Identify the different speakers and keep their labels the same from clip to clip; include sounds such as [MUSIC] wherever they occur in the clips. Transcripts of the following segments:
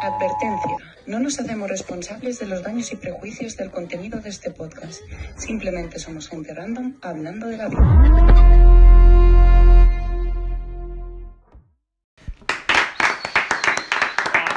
Speaker 1: Advertencia. No nos hacemos responsables de los daños y prejuicios del contenido de este podcast. Simplemente somos gente random hablando de la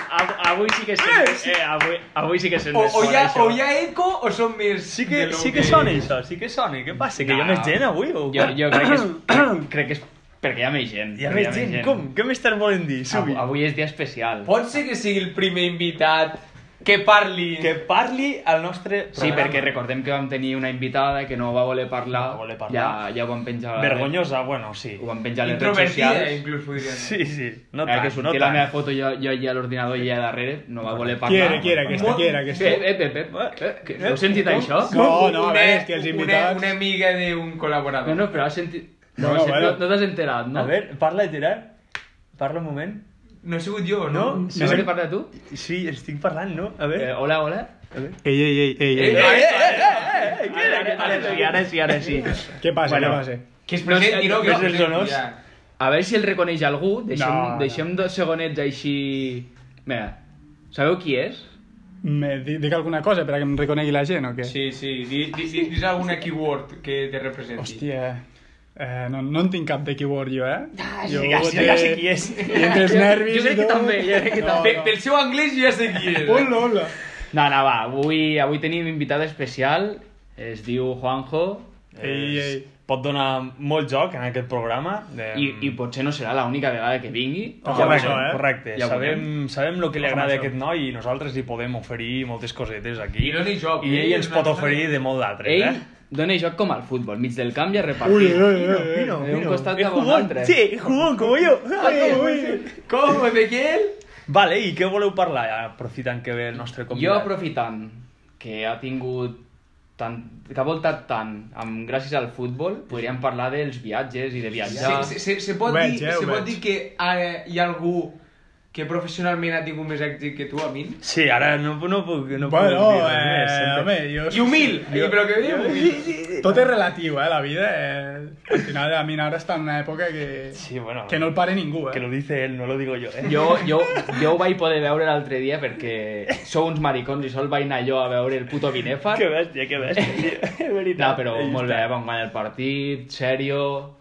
Speaker 2: A- Avui sí que sent...
Speaker 3: Eh, sí.
Speaker 2: Eh, avui, avui sí que sent
Speaker 3: O,
Speaker 2: més
Speaker 3: o,
Speaker 2: fort,
Speaker 3: hi ha,
Speaker 2: això.
Speaker 3: o hi ha eco o són més...
Speaker 2: Sí que,
Speaker 3: de lo
Speaker 2: sí que sona això, sí que sona. Què passa? Que hi ha
Speaker 3: No.
Speaker 2: més gent avui? O...
Speaker 4: Jo, jo crec, que és,
Speaker 2: [COUGHS]
Speaker 4: crec, crec que és perquè hi ha més gent.
Speaker 2: Hi ha
Speaker 4: perquè
Speaker 2: més gent? Com? Què m'estàs volent dir? Subi.
Speaker 4: Avui, avui és dia especial.
Speaker 3: Pot ser que sigui el primer invitat que parli...
Speaker 2: Que parli al nostre
Speaker 4: Sí,
Speaker 2: programa.
Speaker 4: perquè recordem que vam tenir una invitada que no va voler parlar.
Speaker 2: No va voler parlar.
Speaker 4: Ja, ja ho vam penjar... a la
Speaker 2: Vergonyosa, bueno, sí.
Speaker 4: red- Ho vam penjar a les redes
Speaker 3: Introvertida,
Speaker 4: socials.
Speaker 3: inclús podríem dir.
Speaker 2: Sí, sí. No
Speaker 4: eh,
Speaker 2: tant, no
Speaker 4: que sortia la
Speaker 2: tant.
Speaker 4: meva foto jo, jo allà a l'ordinador i allà darrere, no va voler parlar.
Speaker 5: Quiere, quiere, aquesta,
Speaker 3: Molt-
Speaker 5: quiere,
Speaker 4: Eh,
Speaker 5: aquesta.
Speaker 4: eh, eh, eh, eh, que- heu sentit això?
Speaker 5: No, no, a
Speaker 3: Una-
Speaker 5: veure, és que els
Speaker 3: una-
Speaker 5: invitats-
Speaker 3: Una, amiga d'un
Speaker 4: No,
Speaker 3: col·laborador.
Speaker 4: no, però has sentit... No,
Speaker 5: No,
Speaker 4: no,
Speaker 5: bueno.
Speaker 4: no, no t'has enterat, no?
Speaker 2: A veure, parla, Gerard. Parla un moment.
Speaker 3: No he sigut jo, no?
Speaker 2: No?
Speaker 4: Sí, no
Speaker 2: sí.
Speaker 4: que parla tu?
Speaker 2: Sí, estic parlant, no? A
Speaker 4: Eh,
Speaker 2: veure.
Speaker 4: hola, hola.
Speaker 5: Ei, ei, ei, ei,
Speaker 3: Eh,
Speaker 5: ei.
Speaker 3: eh, eh,
Speaker 2: oh, Eh, què era? Ara sí, ara sí, ara sí.
Speaker 5: Què passa,
Speaker 2: Bueno.
Speaker 5: què passa?
Speaker 3: Que es presenti, no? Que
Speaker 2: Ves
Speaker 3: es
Speaker 2: els honors.
Speaker 3: presenti, ja.
Speaker 4: A veure si el reconeix algú. Deixem,
Speaker 5: No, no.
Speaker 4: deixem dos segonets així... Mira, sabeu qui és?
Speaker 5: Me, di- dic alguna cosa perquè em reconegui la gent o què?
Speaker 3: Sí, sí, di, di, di, dis alguna keyword que te representi.
Speaker 5: Hòstia, eh, no, no en tinc cap de keyword jo, eh? jo
Speaker 2: Ah, Ja sé, ja sé qui és.
Speaker 5: I entre els nervis
Speaker 4: jo crec
Speaker 5: i
Speaker 4: que
Speaker 5: tot.
Speaker 4: també, jo crec que
Speaker 5: no,
Speaker 3: Pe,
Speaker 4: també.
Speaker 5: No.
Speaker 3: pel seu anglès jo ja sé qui és. eh.
Speaker 5: Hola, hola.
Speaker 4: No, no, va, avui, avui tenim invitat especial. Es diu Juanjo.
Speaker 5: Ei, ei.
Speaker 2: Pot donar molt joc en aquest programa. De...
Speaker 4: I, I potser no serà l'única vegada que vingui.
Speaker 5: Ojo
Speaker 2: Ja ho
Speaker 5: amb això,
Speaker 2: veurem,
Speaker 5: eh?
Speaker 2: Correcte.
Speaker 4: Ja ho
Speaker 2: sabem, sabem el que li
Speaker 5: Ojo amb
Speaker 2: agrada a
Speaker 5: això.
Speaker 2: aquest noi i nosaltres li podem oferir moltes cosetes aquí.
Speaker 3: I no ni joc,
Speaker 2: I
Speaker 3: eh?
Speaker 2: ell ens
Speaker 3: Una
Speaker 2: pot
Speaker 3: cosa-
Speaker 2: oferir de molt d'altres,
Speaker 4: Ell
Speaker 2: eh?
Speaker 4: dona joc com al futbol, mig del camp i a
Speaker 5: Ui,
Speaker 4: repartir.
Speaker 5: ui, ui, ui.
Speaker 4: De un costat
Speaker 2: Eh,
Speaker 4: cap a un
Speaker 2: jugón.
Speaker 4: altre.
Speaker 2: Sí, jugón, com jo. Ai, ui.
Speaker 3: Com, Ezequiel?
Speaker 2: Vale, i què voleu parlar, aprofitant que ve el nostre
Speaker 4: Jo
Speaker 2: convidat?
Speaker 4: aprofitant que ha tingut tant, que ha voltat tant amb, gràcies al futbol, podríem parlar dels viatges i de viatjar.
Speaker 3: Se, se, se, pot,
Speaker 5: Ho veig,
Speaker 3: dir,
Speaker 5: eh, ho
Speaker 3: se pot
Speaker 5: veig.
Speaker 3: dir que eh, hi ha algú que professionalment ha tingut més èxit que tu, a mi?
Speaker 2: Sí, ara no, no puc, no
Speaker 5: Bueno,
Speaker 2: puc dir res més.
Speaker 5: eh,
Speaker 2: sempre.
Speaker 5: home, jo...
Speaker 3: I humil! I però que diu?
Speaker 5: Tot és relatiu, eh, la vida. Eh? Al final, a mi ara està en una època que...
Speaker 2: Sí, bueno.
Speaker 5: Que no el pare ningú, eh?
Speaker 2: Que lo dice él, no lo digo yo,
Speaker 4: [LAUGHS]
Speaker 2: eh?
Speaker 4: Jo, jo, jo ho vaig poder veure l'altre dia perquè sou uns maricons i sol vaig anar jo a veure el puto Binefar.
Speaker 2: Que bèstia, que bèstia, tio. És veritat.
Speaker 4: No, però
Speaker 2: Ahí
Speaker 4: molt
Speaker 2: està.
Speaker 4: bé, vam guanyar el partit, sèrio...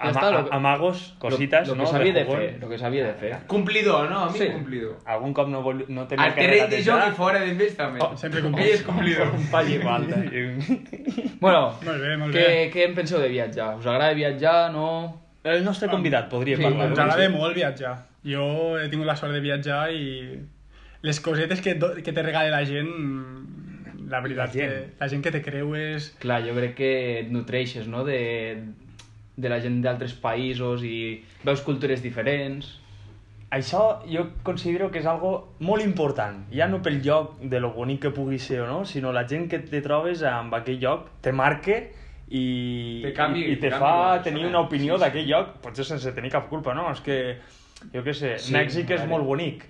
Speaker 4: Ja
Speaker 2: Ama
Speaker 4: està, lo que-
Speaker 2: amagos, cositas,
Speaker 4: lo, lo
Speaker 2: no?
Speaker 4: Que s'havia de
Speaker 2: jugón.
Speaker 4: fer, lo que s'havia de fer.
Speaker 3: Complidor, no? A mi
Speaker 4: Sí.
Speaker 3: complidor.
Speaker 2: Algun cop no, vol... no tenia
Speaker 3: Al terreny de joc i fora de més, també.
Speaker 5: Oh, sempre complidor.
Speaker 3: Ell és complidor.
Speaker 2: Un eh. pal i
Speaker 3: [LAUGHS]
Speaker 2: falta.
Speaker 4: Bueno,
Speaker 5: Molt bé, molt
Speaker 4: què,
Speaker 5: bé.
Speaker 4: què en penseu de viatjar? Us agrada viatjar, no?
Speaker 2: El nostre convidat podria
Speaker 4: Sí,
Speaker 2: parlar. eh?
Speaker 5: Ens
Speaker 2: no?
Speaker 5: agrada molt viatjar. Jo he tingut la sort de viatjar i les cosetes que, do- que te regala la gent, la veritat,
Speaker 2: La gent.
Speaker 5: Que, la gent que te creues...
Speaker 4: Clar, jo crec que et nutreixes, no?, de, de la gent d'altres països i veus cultures diferents.
Speaker 2: Això jo considero que és algo molt important. Ja no pel lloc de lo bonic que pugui ser o no, sinó la gent que te trobes amb aquell lloc te marque i,
Speaker 3: Te canvi-
Speaker 2: i, i te
Speaker 3: te canvi la
Speaker 2: fa
Speaker 3: persona.
Speaker 2: tenir una opinió
Speaker 3: Sí, sí.
Speaker 2: d'aquell lloc, potser sense tenir cap culpa, no? És que, jo què sé,
Speaker 4: Sí,
Speaker 2: Mèxic és
Speaker 4: vale.
Speaker 2: molt bonic.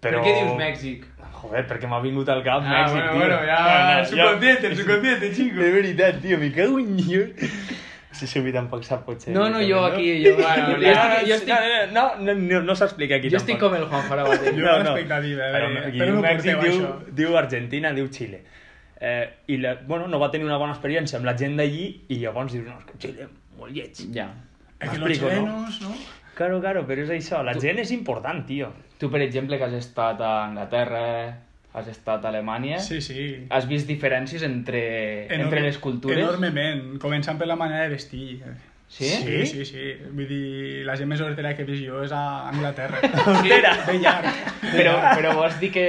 Speaker 3: Per
Speaker 2: Però...
Speaker 3: què dius Mèxic?
Speaker 2: Joder, perquè m'ha vingut al cap
Speaker 3: Ah,
Speaker 2: Mèxic,
Speaker 3: bueno,
Speaker 2: tio.
Speaker 3: bueno, ja...
Speaker 2: No, no,
Speaker 3: el subconsciente, el subconsciente, xingo.
Speaker 2: De veritat, tio, me cago en Dios. Si Subi tampoc sap, potser.
Speaker 4: No, Ah, no, jo
Speaker 2: no?
Speaker 4: aquí... [LAUGHS] Jo,
Speaker 3: Bueno,
Speaker 2: No,
Speaker 4: jo estic, jo estic,
Speaker 2: no, no, no, no, no s'explica aquí
Speaker 4: jo estic
Speaker 2: tampoc.
Speaker 4: com el Juan Farabate.
Speaker 5: Jo-
Speaker 2: No,
Speaker 5: amb
Speaker 2: no.
Speaker 5: expectativa, a
Speaker 2: Però,
Speaker 5: veure,
Speaker 2: aquí
Speaker 5: però no
Speaker 2: Mèxic
Speaker 5: porteu
Speaker 2: diu,
Speaker 5: això.
Speaker 2: diu Argentina, diu Xile. Eh, i la, bueno, no va tenir una bona experiència amb la gent d'allí i llavors diu, no, és que Xile, molt lleig.
Speaker 4: Ja.
Speaker 5: Es que los
Speaker 2: M'explico, no?
Speaker 5: chilenos, no?
Speaker 2: Claro, claro, però és això, la gent és important, tio.
Speaker 4: Tu, per exemple, que has estat a Anglaterra, has estat a Alemanya...
Speaker 5: Sí, sí.
Speaker 4: Has vist diferències Eh? entre,
Speaker 5: Enorme-
Speaker 4: entre les cultures?
Speaker 5: Enormement, començant per la manera de vestir.
Speaker 4: Sí?
Speaker 5: Sí, sí, sí. Vull dir, la gent més hortera que he vist jo és a
Speaker 4: [LAUGHS]
Speaker 5: Anglaterra.
Speaker 2: Hortera.
Speaker 5: De llarg.
Speaker 4: Però, però vols dir que...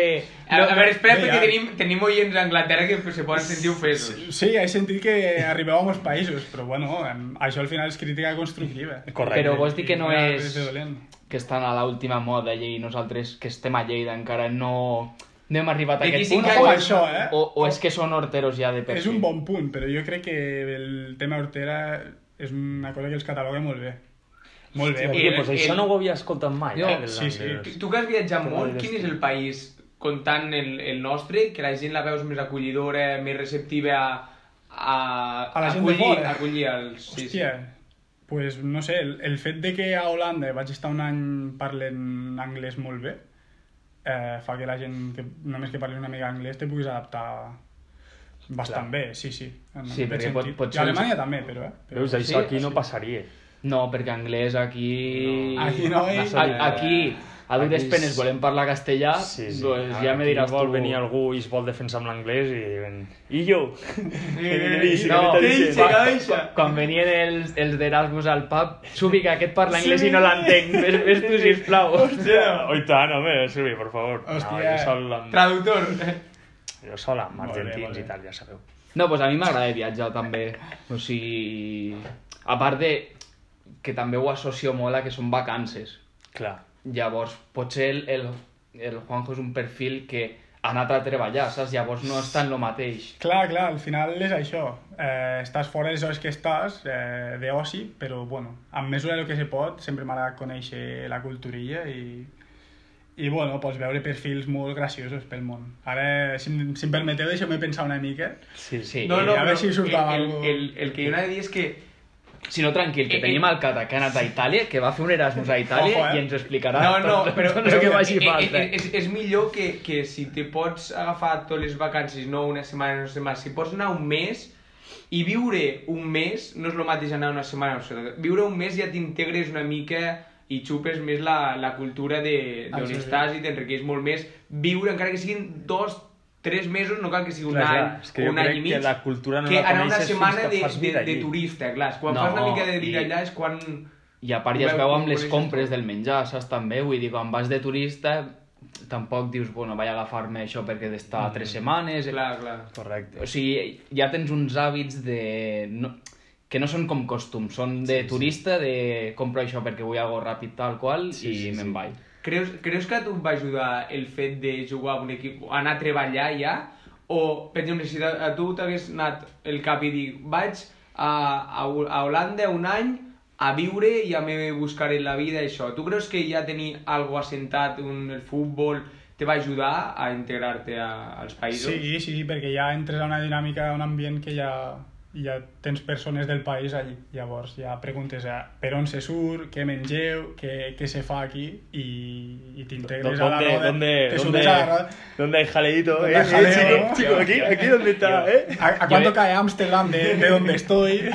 Speaker 3: A, a veure, espera,
Speaker 5: Bé,
Speaker 3: perquè
Speaker 5: ja.
Speaker 3: tenim, tenim oients a Anglaterra que se poden sentir ofesos.
Speaker 5: Sí, he sentit que arribava a molts països, però bueno, em- això al final és crítica constructiva.
Speaker 2: Correcte.
Speaker 4: Però vols dir que no
Speaker 5: I res
Speaker 4: és...
Speaker 5: de dolent.
Speaker 4: Que estan a l'última moda i nosaltres, que estem a Lleida, encara no, no hem arribat a
Speaker 3: D'aquí
Speaker 4: aquest
Speaker 3: cinc
Speaker 4: punt?
Speaker 3: anys-
Speaker 4: O,
Speaker 3: Com
Speaker 5: això, eh?
Speaker 4: o, o és que són horteros ja de Oh, per
Speaker 5: És
Speaker 4: si?
Speaker 5: un bon punt, però jo crec que el tema hortera és una cosa que els cataloga molt bé. Molt bé.
Speaker 2: Hòstia,
Speaker 5: molt
Speaker 2: tio,
Speaker 5: bé.
Speaker 2: pues això no ho havia escoltat mai,
Speaker 4: Jo-
Speaker 2: eh? dels
Speaker 5: sí, sí.
Speaker 2: anglesos.
Speaker 3: Tu que has viatjat
Speaker 2: Però
Speaker 3: molt,
Speaker 2: no
Speaker 3: quin
Speaker 2: digues
Speaker 3: és
Speaker 2: tu.
Speaker 3: el país, comptant el, el nostre, que la gent la veus més acollidora, més receptiva a, a,
Speaker 5: A la gent de
Speaker 3: acollir,
Speaker 5: fora.
Speaker 3: a acollir els... Sí, sí.
Speaker 5: Hòstia, pues no sé, el, el fet de que a Holanda vaig estar un any parlant anglès molt bé, eh, eh, fa que la gent que només que parli una mica anglès te puguis adaptar bastant bé, sí, sí. en
Speaker 4: Sí,
Speaker 5: aquest
Speaker 4: perquè pot-
Speaker 5: sentit.
Speaker 4: pot
Speaker 5: I a
Speaker 4: ser-
Speaker 5: Alemanya també, però, eh? Però...
Speaker 2: Veus, això
Speaker 4: Sí,
Speaker 2: aquí no passaria.
Speaker 4: No, perquè anglès aquí...
Speaker 5: No. Aquí no, eh?
Speaker 4: A- Aquí, a dures
Speaker 2: Aquí és-
Speaker 4: penes volem parlar castellà,
Speaker 2: Sí, sí.
Speaker 4: Ah, doncs ja
Speaker 2: Aquí
Speaker 4: me diràs
Speaker 2: vol
Speaker 4: tu...
Speaker 2: venir algú i es vol defensar amb l'anglès i diuen... I jo?
Speaker 4: [LAUGHS]
Speaker 3: eh,
Speaker 2: Sí,
Speaker 4: No,
Speaker 2: que m'està
Speaker 4: quan-
Speaker 2: dient.
Speaker 3: deixa,
Speaker 4: quan,
Speaker 3: deixa.
Speaker 4: quan venien els, els d'Erasmus al pub, subi que aquest parla anglès i no l'entenc, ves, ves tu sisplau.
Speaker 2: Hòstia, oi Oh, tant, home, Silvi, per favor.
Speaker 5: Hòstia.
Speaker 2: No, jo sol amb,
Speaker 3: Traductor.
Speaker 5: [LAUGHS]
Speaker 2: jo sol amb
Speaker 5: Molt bé,
Speaker 2: argentins
Speaker 5: molt
Speaker 2: i
Speaker 5: bé.
Speaker 2: tal, ja sabeu.
Speaker 4: No, doncs a mi m'agrada viatjar també. O sigui... A part de que també ho associo molt a que són vacances.
Speaker 2: Clar.
Speaker 4: Llavors, potser el, el, el Juanjo és un perfil que ha anat a treballar, saps? Llavors no és tant el mateix.
Speaker 5: Clar, clar, al final és això. Eh, estàs fora les hores que estàs, eh, d'oci, però, bueno, en mesura del que se pot, sempre m'agrada conèixer la culturilla i, i bueno, pots veure perfils molt graciosos pel món. Ara, si, em- si em permeteu, deixeu-me pensar una mica.
Speaker 2: Sí,
Speaker 4: Sí.
Speaker 3: No, no,
Speaker 5: a
Speaker 3: però
Speaker 5: ver si surt
Speaker 3: el,
Speaker 5: algo.
Speaker 3: el, el, el que jo anava a dir és que
Speaker 4: Si no, tranquil, que
Speaker 3: Eh, eh.
Speaker 4: tenim el Cata que ha anat a Itàlia, que va fer un Erasmus a Itàlia
Speaker 5: Ojo, eh.
Speaker 4: i ens explicarà
Speaker 3: No, no,
Speaker 4: tot,
Speaker 3: però,
Speaker 4: tot
Speaker 3: però
Speaker 4: el que vagi
Speaker 3: eh, eh,
Speaker 4: falta.
Speaker 3: eh, És, és millor que, que si te pots agafar totes les vacances, no una setmana, una setmana, si pots anar un mes i viure un mes no és el mateix anar una setmana o setmana. Viure un mes ja t'integres una mica i xupes més la, la cultura de-
Speaker 5: Ah,
Speaker 3: d'on
Speaker 5: sí, sí.
Speaker 3: estàs i t'enriqueix molt més. Viure, encara que siguin dos, tres mesos, no cal que sigui un
Speaker 2: Clar,
Speaker 3: any,
Speaker 2: clar, és que jo
Speaker 3: un any
Speaker 2: crec
Speaker 3: i
Speaker 2: que
Speaker 3: mig,
Speaker 2: la cultura no
Speaker 3: que
Speaker 2: la
Speaker 3: anar
Speaker 2: coneixes
Speaker 3: una
Speaker 2: fins
Speaker 3: setmana
Speaker 2: que
Speaker 3: de,
Speaker 2: fas
Speaker 3: de,
Speaker 2: vida
Speaker 3: de
Speaker 2: allí.
Speaker 3: turista, clar. Quan
Speaker 4: No,
Speaker 3: fas una mica de vida
Speaker 4: i-
Speaker 3: allà és quan...
Speaker 4: I a part ja es
Speaker 3: Veu
Speaker 4: veu
Speaker 3: com
Speaker 4: amb les
Speaker 3: coneixes
Speaker 4: compres
Speaker 3: tot.
Speaker 4: del menjar, saps? També, vull dir, quan vas de turista, tampoc dius, bueno, vaig a agafar-me això perquè he d'estar mm. tres setmanes...
Speaker 3: Clar, clar.
Speaker 2: Correcte.
Speaker 4: O sigui, ja tens uns hàbits de... No, que no són com costums, són de turista, de compro això perquè vull algo ràpid tal qual
Speaker 2: Sí,
Speaker 4: i
Speaker 2: sí,
Speaker 4: me'n
Speaker 2: sí.
Speaker 4: vaig.
Speaker 3: Creus, creus que a tu et va ajudar el fet de jugar a un equip, anar a treballar ja? O, per exemple, si a tu t'hagués anat el cap i dir vaig a, a, Ho- a Holanda un any a viure i a me buscaré la vida, això. Tu creus que ja tenir alguna assentat, un, el futbol, te va ajudar a integrar-te a- als països?
Speaker 5: Sí, sí, perquè ja entres a una dinàmica, a un ambient que ja, ja tens persones del país allí. Llavors ja preguntes a per on se surt, què mengeu, què, què se fa aquí i, i t'integres a la
Speaker 2: ¿Dónde,
Speaker 5: roda.
Speaker 2: dónde,
Speaker 5: te
Speaker 2: dónde,
Speaker 5: subes a la roda.
Speaker 2: dónde hay jaleito,
Speaker 5: ¿Dónde
Speaker 2: eh?
Speaker 5: hay jaleo,
Speaker 2: Eh,
Speaker 5: no?
Speaker 2: chico, chico, aquí, aquí donde está, eh?
Speaker 5: ¿A, a cuánto cae Ámsterdam de, de donde estoy?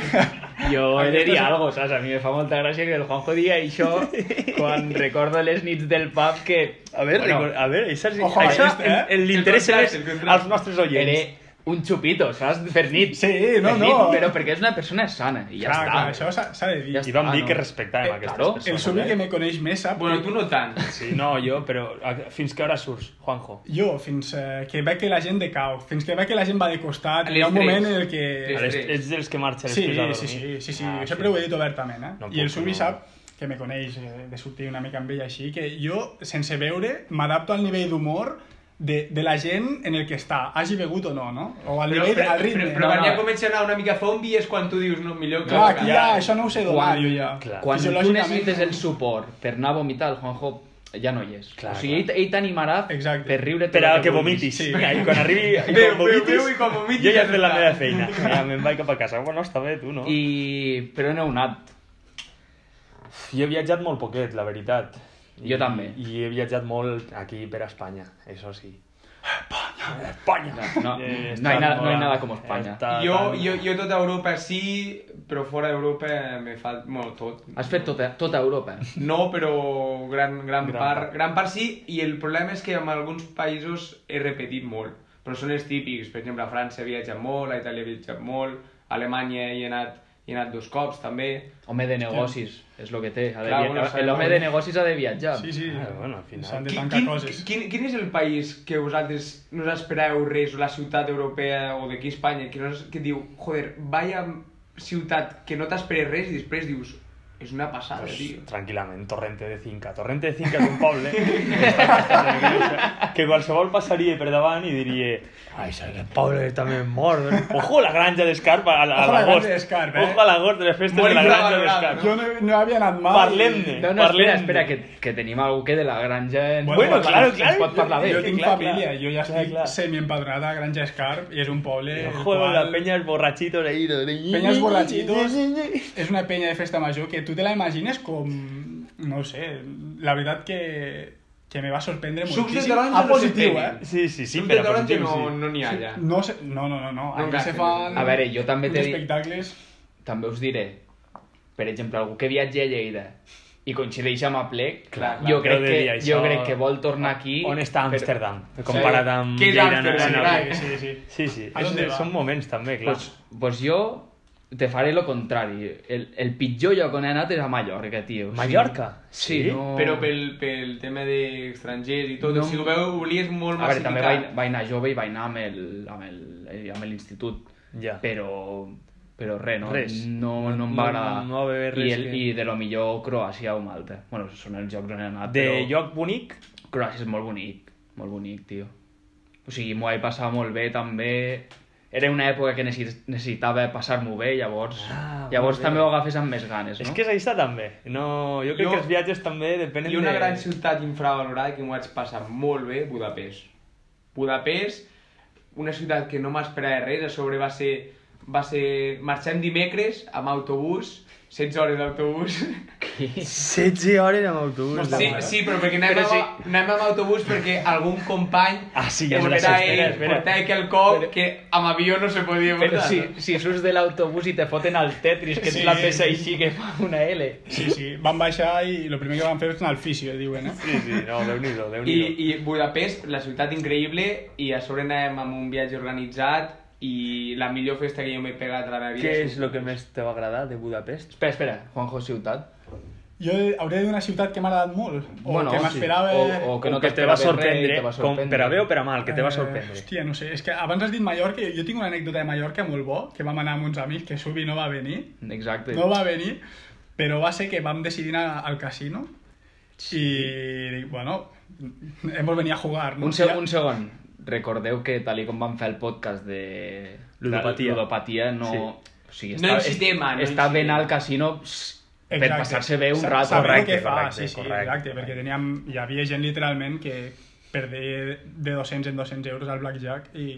Speaker 4: Jo he de dir algo, saps? A mi me fa molta gràcia que el
Speaker 2: [LAUGHS]
Speaker 4: Juanjo digui això [LAUGHS] quan recordo les nits del pub que...
Speaker 2: A ver,
Speaker 4: bueno,
Speaker 2: recor- a ver, esa, esa-
Speaker 5: Ojo, ahí está, eh?
Speaker 2: el, el interés
Speaker 3: El contraste,
Speaker 2: es
Speaker 3: el contraste.
Speaker 2: als nostres
Speaker 4: era
Speaker 2: oients.
Speaker 4: un xupito, saps? Per nit.
Speaker 5: Sí, no,
Speaker 4: per
Speaker 5: no.
Speaker 4: però perquè és una persona sana i ja
Speaker 5: clar,
Speaker 4: està.
Speaker 5: clar, això s'ha s'ha de dir.
Speaker 4: Ja
Speaker 2: I vam
Speaker 4: Ah,
Speaker 2: dir
Speaker 4: no.
Speaker 2: que respectàvem
Speaker 5: Eh,
Speaker 2: aquestes
Speaker 4: claro, el
Speaker 5: El
Speaker 2: persones.
Speaker 5: subi
Speaker 2: eh?
Speaker 5: que me coneix més sap...
Speaker 3: Bueno, tu no tant.
Speaker 2: Sí, no, jo, però a- fins que hora surts, Juanjo?
Speaker 5: Jo, fins eh, que veig que la gent decau, fins que veig que la gent va de costat, hi ha un
Speaker 3: L'estrès.
Speaker 5: moment en el que...
Speaker 2: A les- Ets dels que marxa
Speaker 5: Sí,
Speaker 2: després a dormir.
Speaker 5: sí, sí, sí, sí.
Speaker 2: Ah,
Speaker 5: jo sempre ho he dit obertament, eh?
Speaker 2: No
Speaker 5: I el
Speaker 2: puc,
Speaker 5: Subi
Speaker 2: no.
Speaker 5: sap que me coneix eh, de sortir una mica amb ell així, que jo, sense veure, m'adapto al nivell d'humor de, de la gent en el que està, hagi begut o no, no? O al nivell, al ritme.
Speaker 3: però, però quan
Speaker 4: no.
Speaker 3: ja comença a anar una mica zombi és quan tu dius, no, millor que...
Speaker 5: clar, aquí ja,
Speaker 2: clar.
Speaker 5: això no ho sé donar,
Speaker 4: Quan-
Speaker 5: jo ja.
Speaker 2: clar.
Speaker 4: Quan tu
Speaker 5: Fisiològicament.
Speaker 4: necessites el suport per anar a vomitar, el Juanjo ja no hi és.
Speaker 2: Clar,
Speaker 4: o sigui, ell, ell t'animarà
Speaker 5: Exacte.
Speaker 4: per riure tot
Speaker 2: Per
Speaker 4: el
Speaker 2: a que
Speaker 4: vulguis.
Speaker 2: vomitis.
Speaker 5: Sí.
Speaker 2: Vinga, i quan
Speaker 5: [LAUGHS]
Speaker 2: arribi... I
Speaker 3: Veu,
Speaker 2: quan
Speaker 3: veu,
Speaker 2: vomitis,
Speaker 3: veu, i quan vomitis
Speaker 2: jo ja
Speaker 3: ja
Speaker 2: he fet la
Speaker 3: està.
Speaker 2: meva feina. Ja me'n vaig cap a casa. Bueno, està bé, tu, no?
Speaker 4: I... Però no heu anat.
Speaker 2: Jo he viatjat molt poquet, la veritat.
Speaker 4: Jo també.
Speaker 2: I he viatjat molt aquí per a Espanya, això sí. Espanya! Eh, Espanya! [LAUGHS]
Speaker 4: No, no, no hay nada- no hay nada como España.
Speaker 2: Ah,
Speaker 3: Jo, jo, jo tota Europa sí, però fora d'Europa me falta... Bueno, tot.
Speaker 4: Has fet tota, tota Europa.
Speaker 3: No, però gran, gran,
Speaker 2: Gran
Speaker 3: part,
Speaker 2: part.
Speaker 3: gran part sí, i el problema és que en alguns països he repetit molt, però són els típics, per exemple, a França he viatjat molt, a Itàlia he viatjat molt, a Alemanya hi he anat, hi he anat dos cops també,
Speaker 4: Home de negocis, és el que té. Ha de
Speaker 3: Clar,
Speaker 4: via-
Speaker 3: bueno,
Speaker 4: el home de negocis ha de viatjar.
Speaker 5: Sí, sí.
Speaker 2: Ah, bueno, al final.
Speaker 5: S'han de
Speaker 3: Qui-
Speaker 5: tancar
Speaker 3: quin,
Speaker 5: coses.
Speaker 3: quin, quin és el país que vosaltres no us espereu res, o la ciutat europea o d'aquí Espanya, que, no us, que diu, joder, vaya ciutat que no t'esperes res i després dius, és una passada,
Speaker 2: Pues,
Speaker 3: tio.
Speaker 2: tranquil·lament, Torrente de Cinca. Torrente de Cinca és un
Speaker 5: [LAUGHS]
Speaker 2: poble que, està bastant nerviosa, que qualsevol passaria per davant i diria ai, això aquest poble també és mort. eh?"
Speaker 5: [LAUGHS]
Speaker 2: Ojo a la granja d'Escarp a, a, a
Speaker 5: Ojo a la
Speaker 2: l'agost.
Speaker 5: granja d'Escarp, eh?
Speaker 2: Ojo a l'agost de les festes
Speaker 3: Molt
Speaker 2: de la granja
Speaker 3: infravalorada,
Speaker 2: d'Escarp.
Speaker 5: Jo no, no havia anat mai.
Speaker 2: Parlem-ne.
Speaker 4: No, no, espera,
Speaker 2: Parlem-ne.
Speaker 4: espera, que, que tenim algú que de la granja... ens
Speaker 5: Bueno,
Speaker 4: pot parlar-
Speaker 2: claro,
Speaker 4: ens
Speaker 2: claro.
Speaker 4: pot parlar bé.
Speaker 5: Jo
Speaker 2: Sí,
Speaker 5: tinc
Speaker 2: clar,
Speaker 5: família,
Speaker 2: clar.
Speaker 5: jo ja
Speaker 2: Clar, clar.
Speaker 5: estic semi-empadronat a Granja Escarp i és un poble... el
Speaker 2: Ojo a la peña borrachitos ahí. de- de-
Speaker 5: Penyes borratxitos és una penya de festa major que tu te la imagines com... No ho sé, la veritat que que me va sorprendre
Speaker 3: Sucs de
Speaker 5: moltíssim.
Speaker 3: taronja
Speaker 5: a
Speaker 3: no se
Speaker 5: positiu,
Speaker 3: tenen.
Speaker 5: eh?
Speaker 2: Sí, sí, sí,
Speaker 3: Suc
Speaker 2: per
Speaker 3: de
Speaker 2: a
Speaker 3: taronja
Speaker 2: positiu,
Speaker 3: no,
Speaker 2: sí.
Speaker 3: no n'hi ha allà.
Speaker 5: No, sé, no, no, no, no.
Speaker 3: No
Speaker 5: Aquí se
Speaker 3: gasten.
Speaker 5: fan
Speaker 4: A veure, jo també
Speaker 5: uns
Speaker 4: t'he dit-
Speaker 5: espectacles...
Speaker 4: També us diré, per exemple, algú que viatgi a Lleida i coincideix amb Aplec,
Speaker 3: Clar, clar,
Speaker 4: jo,
Speaker 2: heu
Speaker 4: crec
Speaker 2: de
Speaker 4: que,
Speaker 2: dir això.
Speaker 4: jo crec que vol tornar aquí...
Speaker 2: On està
Speaker 4: però-
Speaker 2: Amsterdam? Comparat amb
Speaker 3: Què és
Speaker 2: Lleida
Speaker 3: Amsterdam?
Speaker 2: Nacional.
Speaker 5: Sí, sí, sí.
Speaker 2: Sí, sí.
Speaker 5: A
Speaker 2: és-
Speaker 5: on va?
Speaker 2: són moments també, clar.
Speaker 4: Pues, pues jo te faré lo contrari. El, el pitjor lloc on he anat és a Mallorca, tio. O sigui-
Speaker 2: Mallorca?
Speaker 4: Sí,
Speaker 2: Sí?
Speaker 4: no...
Speaker 3: Però pel, pel tema d'estrangers i tot,
Speaker 4: No.
Speaker 3: no. si ho veu, ho és molt
Speaker 4: A veure, també vaig,
Speaker 3: massificat.
Speaker 4: vaig anar jove i vaig anar amb el, amb el, eh, amb l'institut.
Speaker 2: Ja.
Speaker 4: Però, però res, no,
Speaker 2: Res.
Speaker 4: no, no em
Speaker 2: No-
Speaker 4: va agradar.
Speaker 2: no va haver res
Speaker 4: I, el,
Speaker 2: que-
Speaker 4: I de lo millor Croàcia o Malta. Bueno, són els jocs on he anat,
Speaker 2: De
Speaker 4: però
Speaker 2: lloc bonic?
Speaker 4: Croàcia és molt bonic, molt bonic, tio. O sigui, m'ho vaig passar molt bé, també. Era una època que necessi- necessitava passar-m'ho bé, llavors,
Speaker 2: Ah, molt
Speaker 4: llavors
Speaker 2: bé.
Speaker 4: també ho agafes amb més ganes, no?
Speaker 2: És que és això també. No, jo crec
Speaker 3: Jo-
Speaker 2: que els viatges també depenen
Speaker 3: I una
Speaker 2: de...
Speaker 3: gran ciutat infravalorada que m'ho vaig passar molt bé, Budapest. Budapest, una ciutat que no m'esperava res, a sobre va ser... Va ser... Marxem dimecres amb autobús, 16 hores d'autobús. [LAUGHS]
Speaker 2: 16 hores amb autobús.
Speaker 5: No està
Speaker 3: Sí,
Speaker 5: mal, eh?
Speaker 3: sí, però perquè anem,
Speaker 4: Però
Speaker 3: però amb, anem amb autobús perquè algun company
Speaker 2: Ah, sí, ja és
Speaker 3: portava-
Speaker 2: gràcies, espera, espera.
Speaker 3: portava quelcom que amb avió no se podia
Speaker 4: Però
Speaker 3: portar.
Speaker 4: si, si surts de l'autobús i te foten al Tetris, que és
Speaker 5: Sí.
Speaker 4: la peça així que fa una L.
Speaker 5: Sí, sí, van baixar i el primer que van fer és anar al fisio, diuen, eh?
Speaker 2: Sí, sí, no, Déu-n'hi-do, déu
Speaker 3: I,
Speaker 2: nhi I,
Speaker 3: I Budapest, la ciutat increïble, i a sobre anàvem amb un viatge organitzat i la millor festa que jo m'he pegat a la meva vida.
Speaker 2: Què és el que més te va agradar de Budapest?
Speaker 4: Espera, espera, Juanjo Ciutat.
Speaker 5: Jo hauré de dir una ciutat que m'ha agradat molt, o que m'esperava...
Speaker 4: O, o que no
Speaker 2: O que te va
Speaker 4: t'esperaves res i
Speaker 2: sorprendre,
Speaker 4: te va
Speaker 2: com per a bé o per a mal, que te va
Speaker 5: Eh,
Speaker 2: sorprendre.
Speaker 5: hòstia, no sé, és que abans has dit Mallorca, jo, jo tinc una anècdota de Mallorca molt bo, que vam anar amb uns amics, que Subi no va venir,
Speaker 4: Exacte.
Speaker 5: no va venir, però va ser que vam decidir anar al casino, i dic, bueno, hemos venido a jugar, no?
Speaker 4: Un, seg un segon. Recordeu que tal i com vam fer el podcast de...
Speaker 2: Ludopatia.
Speaker 4: de ludopatia no...
Speaker 2: Sí.
Speaker 4: O sigui,
Speaker 3: No
Speaker 4: està,
Speaker 3: incitem a- no
Speaker 4: està ben
Speaker 3: incitem.
Speaker 4: al casino pss, per
Speaker 5: Exacte.
Speaker 4: passar-se bé un
Speaker 5: Sa-
Speaker 4: rato.
Speaker 5: Saber
Speaker 2: correcte,
Speaker 5: què fa,
Speaker 2: correcte,
Speaker 5: sí, sí,
Speaker 2: correcte,
Speaker 5: exacte,
Speaker 2: correcte.
Speaker 5: perquè teníem, hi havia gent literalment que perdia de 200 en 200 euros al blackjack i,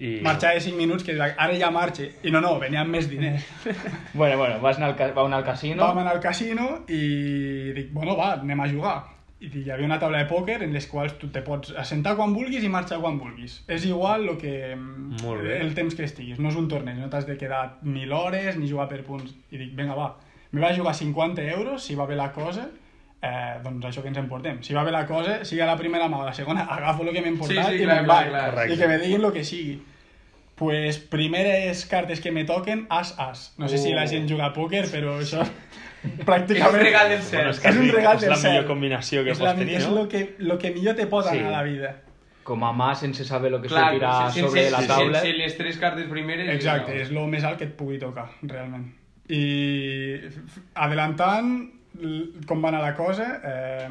Speaker 5: I...
Speaker 2: I-
Speaker 5: marxava 5 minuts, que era, ara ja marxe. I no, no, venien més diners.
Speaker 4: Bueno, bueno, vas anar al, ca- vau anar al casino.
Speaker 5: Vam anar al casino i dic, bueno, va, anem a jugar. I dic, hi havia una taula de pòquer en les quals tu te pots assentar quan vulguis i marxar quan vulguis. És igual lo que, mm,
Speaker 2: Molt bé.
Speaker 5: el temps que estiguis. No és un torneig, no t'has de quedar ni l'hores ni jugar per punts. I dic, vinga, va, me vaig jugar 50 euros, si va bé la cosa, eh, doncs això que ens emportem. Si va bé la cosa, sigui a la primera mà o a la segona, [LAUGHS] agafo el que m'he emportat
Speaker 3: Sí, sí,
Speaker 5: i
Speaker 3: clar,
Speaker 5: me'n
Speaker 3: clar,
Speaker 5: vaig.
Speaker 3: clar.
Speaker 5: I
Speaker 2: Correcte.
Speaker 5: que me diguin el que sigui. Pues primeres cartes que me toquen, as-as. No sé si la
Speaker 2: Oh.
Speaker 5: gent juga a pòquer, però això
Speaker 3: És un
Speaker 5: pràcticament...
Speaker 3: regal del cel.
Speaker 2: Bueno, és
Speaker 5: És,
Speaker 2: que
Speaker 5: un
Speaker 2: ric,
Speaker 5: regal
Speaker 2: és
Speaker 5: del
Speaker 2: la
Speaker 5: cel.
Speaker 2: millor combinació que
Speaker 5: és
Speaker 2: pots tenir,
Speaker 5: És
Speaker 2: no?
Speaker 5: lo que, lo que millor te pot
Speaker 4: Sí.
Speaker 5: anar a la vida.
Speaker 4: Com a mà sense saber el que
Speaker 3: Clar,
Speaker 4: sortirà
Speaker 3: sense-
Speaker 4: sobre
Speaker 3: sense-
Speaker 4: la taula.
Speaker 3: Sense les tres cartes primeres...
Speaker 5: Exacte,
Speaker 3: no.
Speaker 5: és lo més alt que et pugui tocar, realment. I f- f- adelantant l- com va anar la cosa, eh,